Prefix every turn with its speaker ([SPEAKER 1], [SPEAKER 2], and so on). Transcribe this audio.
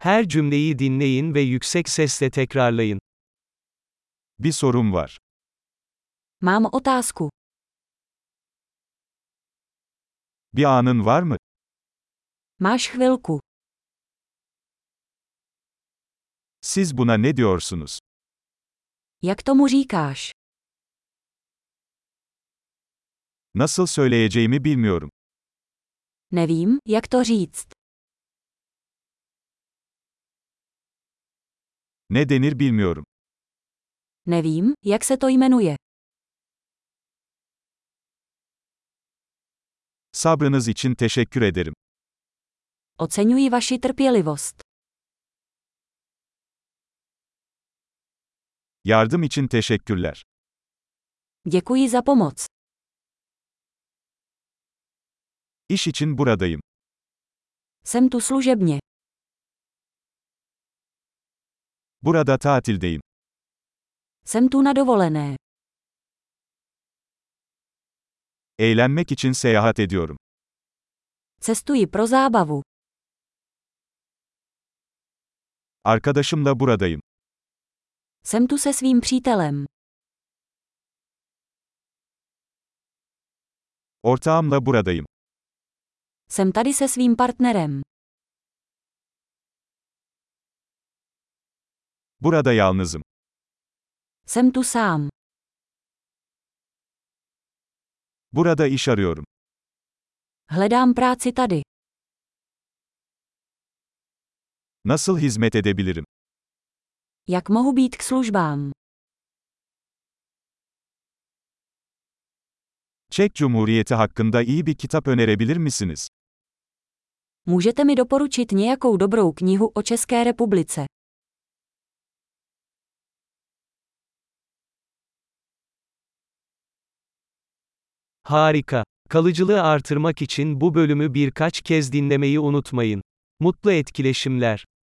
[SPEAKER 1] Her cümleyi dinleyin ve yüksek sesle tekrarlayın.
[SPEAKER 2] Bir sorum var.
[SPEAKER 3] Mám otázku.
[SPEAKER 2] Bir anın var mı?
[SPEAKER 3] Máš chvilku.
[SPEAKER 2] Siz buna ne diyorsunuz?
[SPEAKER 3] Jak tomu říkáš?
[SPEAKER 2] Nasıl söyleyeceğimi bilmiyorum.
[SPEAKER 3] Nevím, jak to říct.
[SPEAKER 2] Ne denir bilmiyorum.
[SPEAKER 3] Nevím, jak se to jmenuje.
[SPEAKER 2] Sabrınız için teşekkür ederim.
[SPEAKER 3] Oceňuji vaši trpělivost.
[SPEAKER 2] Yardım için teşekkürler.
[SPEAKER 3] Děkuji za pomoc.
[SPEAKER 2] İş için buradayım.
[SPEAKER 3] Jsem tu služebně.
[SPEAKER 2] Burada tatildeyim.
[SPEAKER 3] Jsem tu na dovolené.
[SPEAKER 2] Eğlenmek için seyahat ediyorum.
[SPEAKER 3] Cestuji pro zábavu.
[SPEAKER 2] Arkadaşımla buradayım.
[SPEAKER 3] Jsem tu se svým přítelem.
[SPEAKER 2] Ortağımla buradayım.
[SPEAKER 3] Jsem tady se svým partnerem.
[SPEAKER 2] Burada yalnızım.
[SPEAKER 3] Jsem tu sám.
[SPEAKER 2] Burada iş arıyorum.
[SPEAKER 3] Hledám práci tady.
[SPEAKER 2] Nasıl hizmet edebilirim?
[SPEAKER 3] Jak mohu být k službám?
[SPEAKER 2] Çek Cumhuriyeti hakkında iyi bir kitap önerebilir misiniz?
[SPEAKER 3] Můžete mi doporučit nějakou dobrou knihu o České republice?
[SPEAKER 1] Harika. Kalıcılığı artırmak için bu bölümü birkaç kez dinlemeyi unutmayın. Mutlu etkileşimler.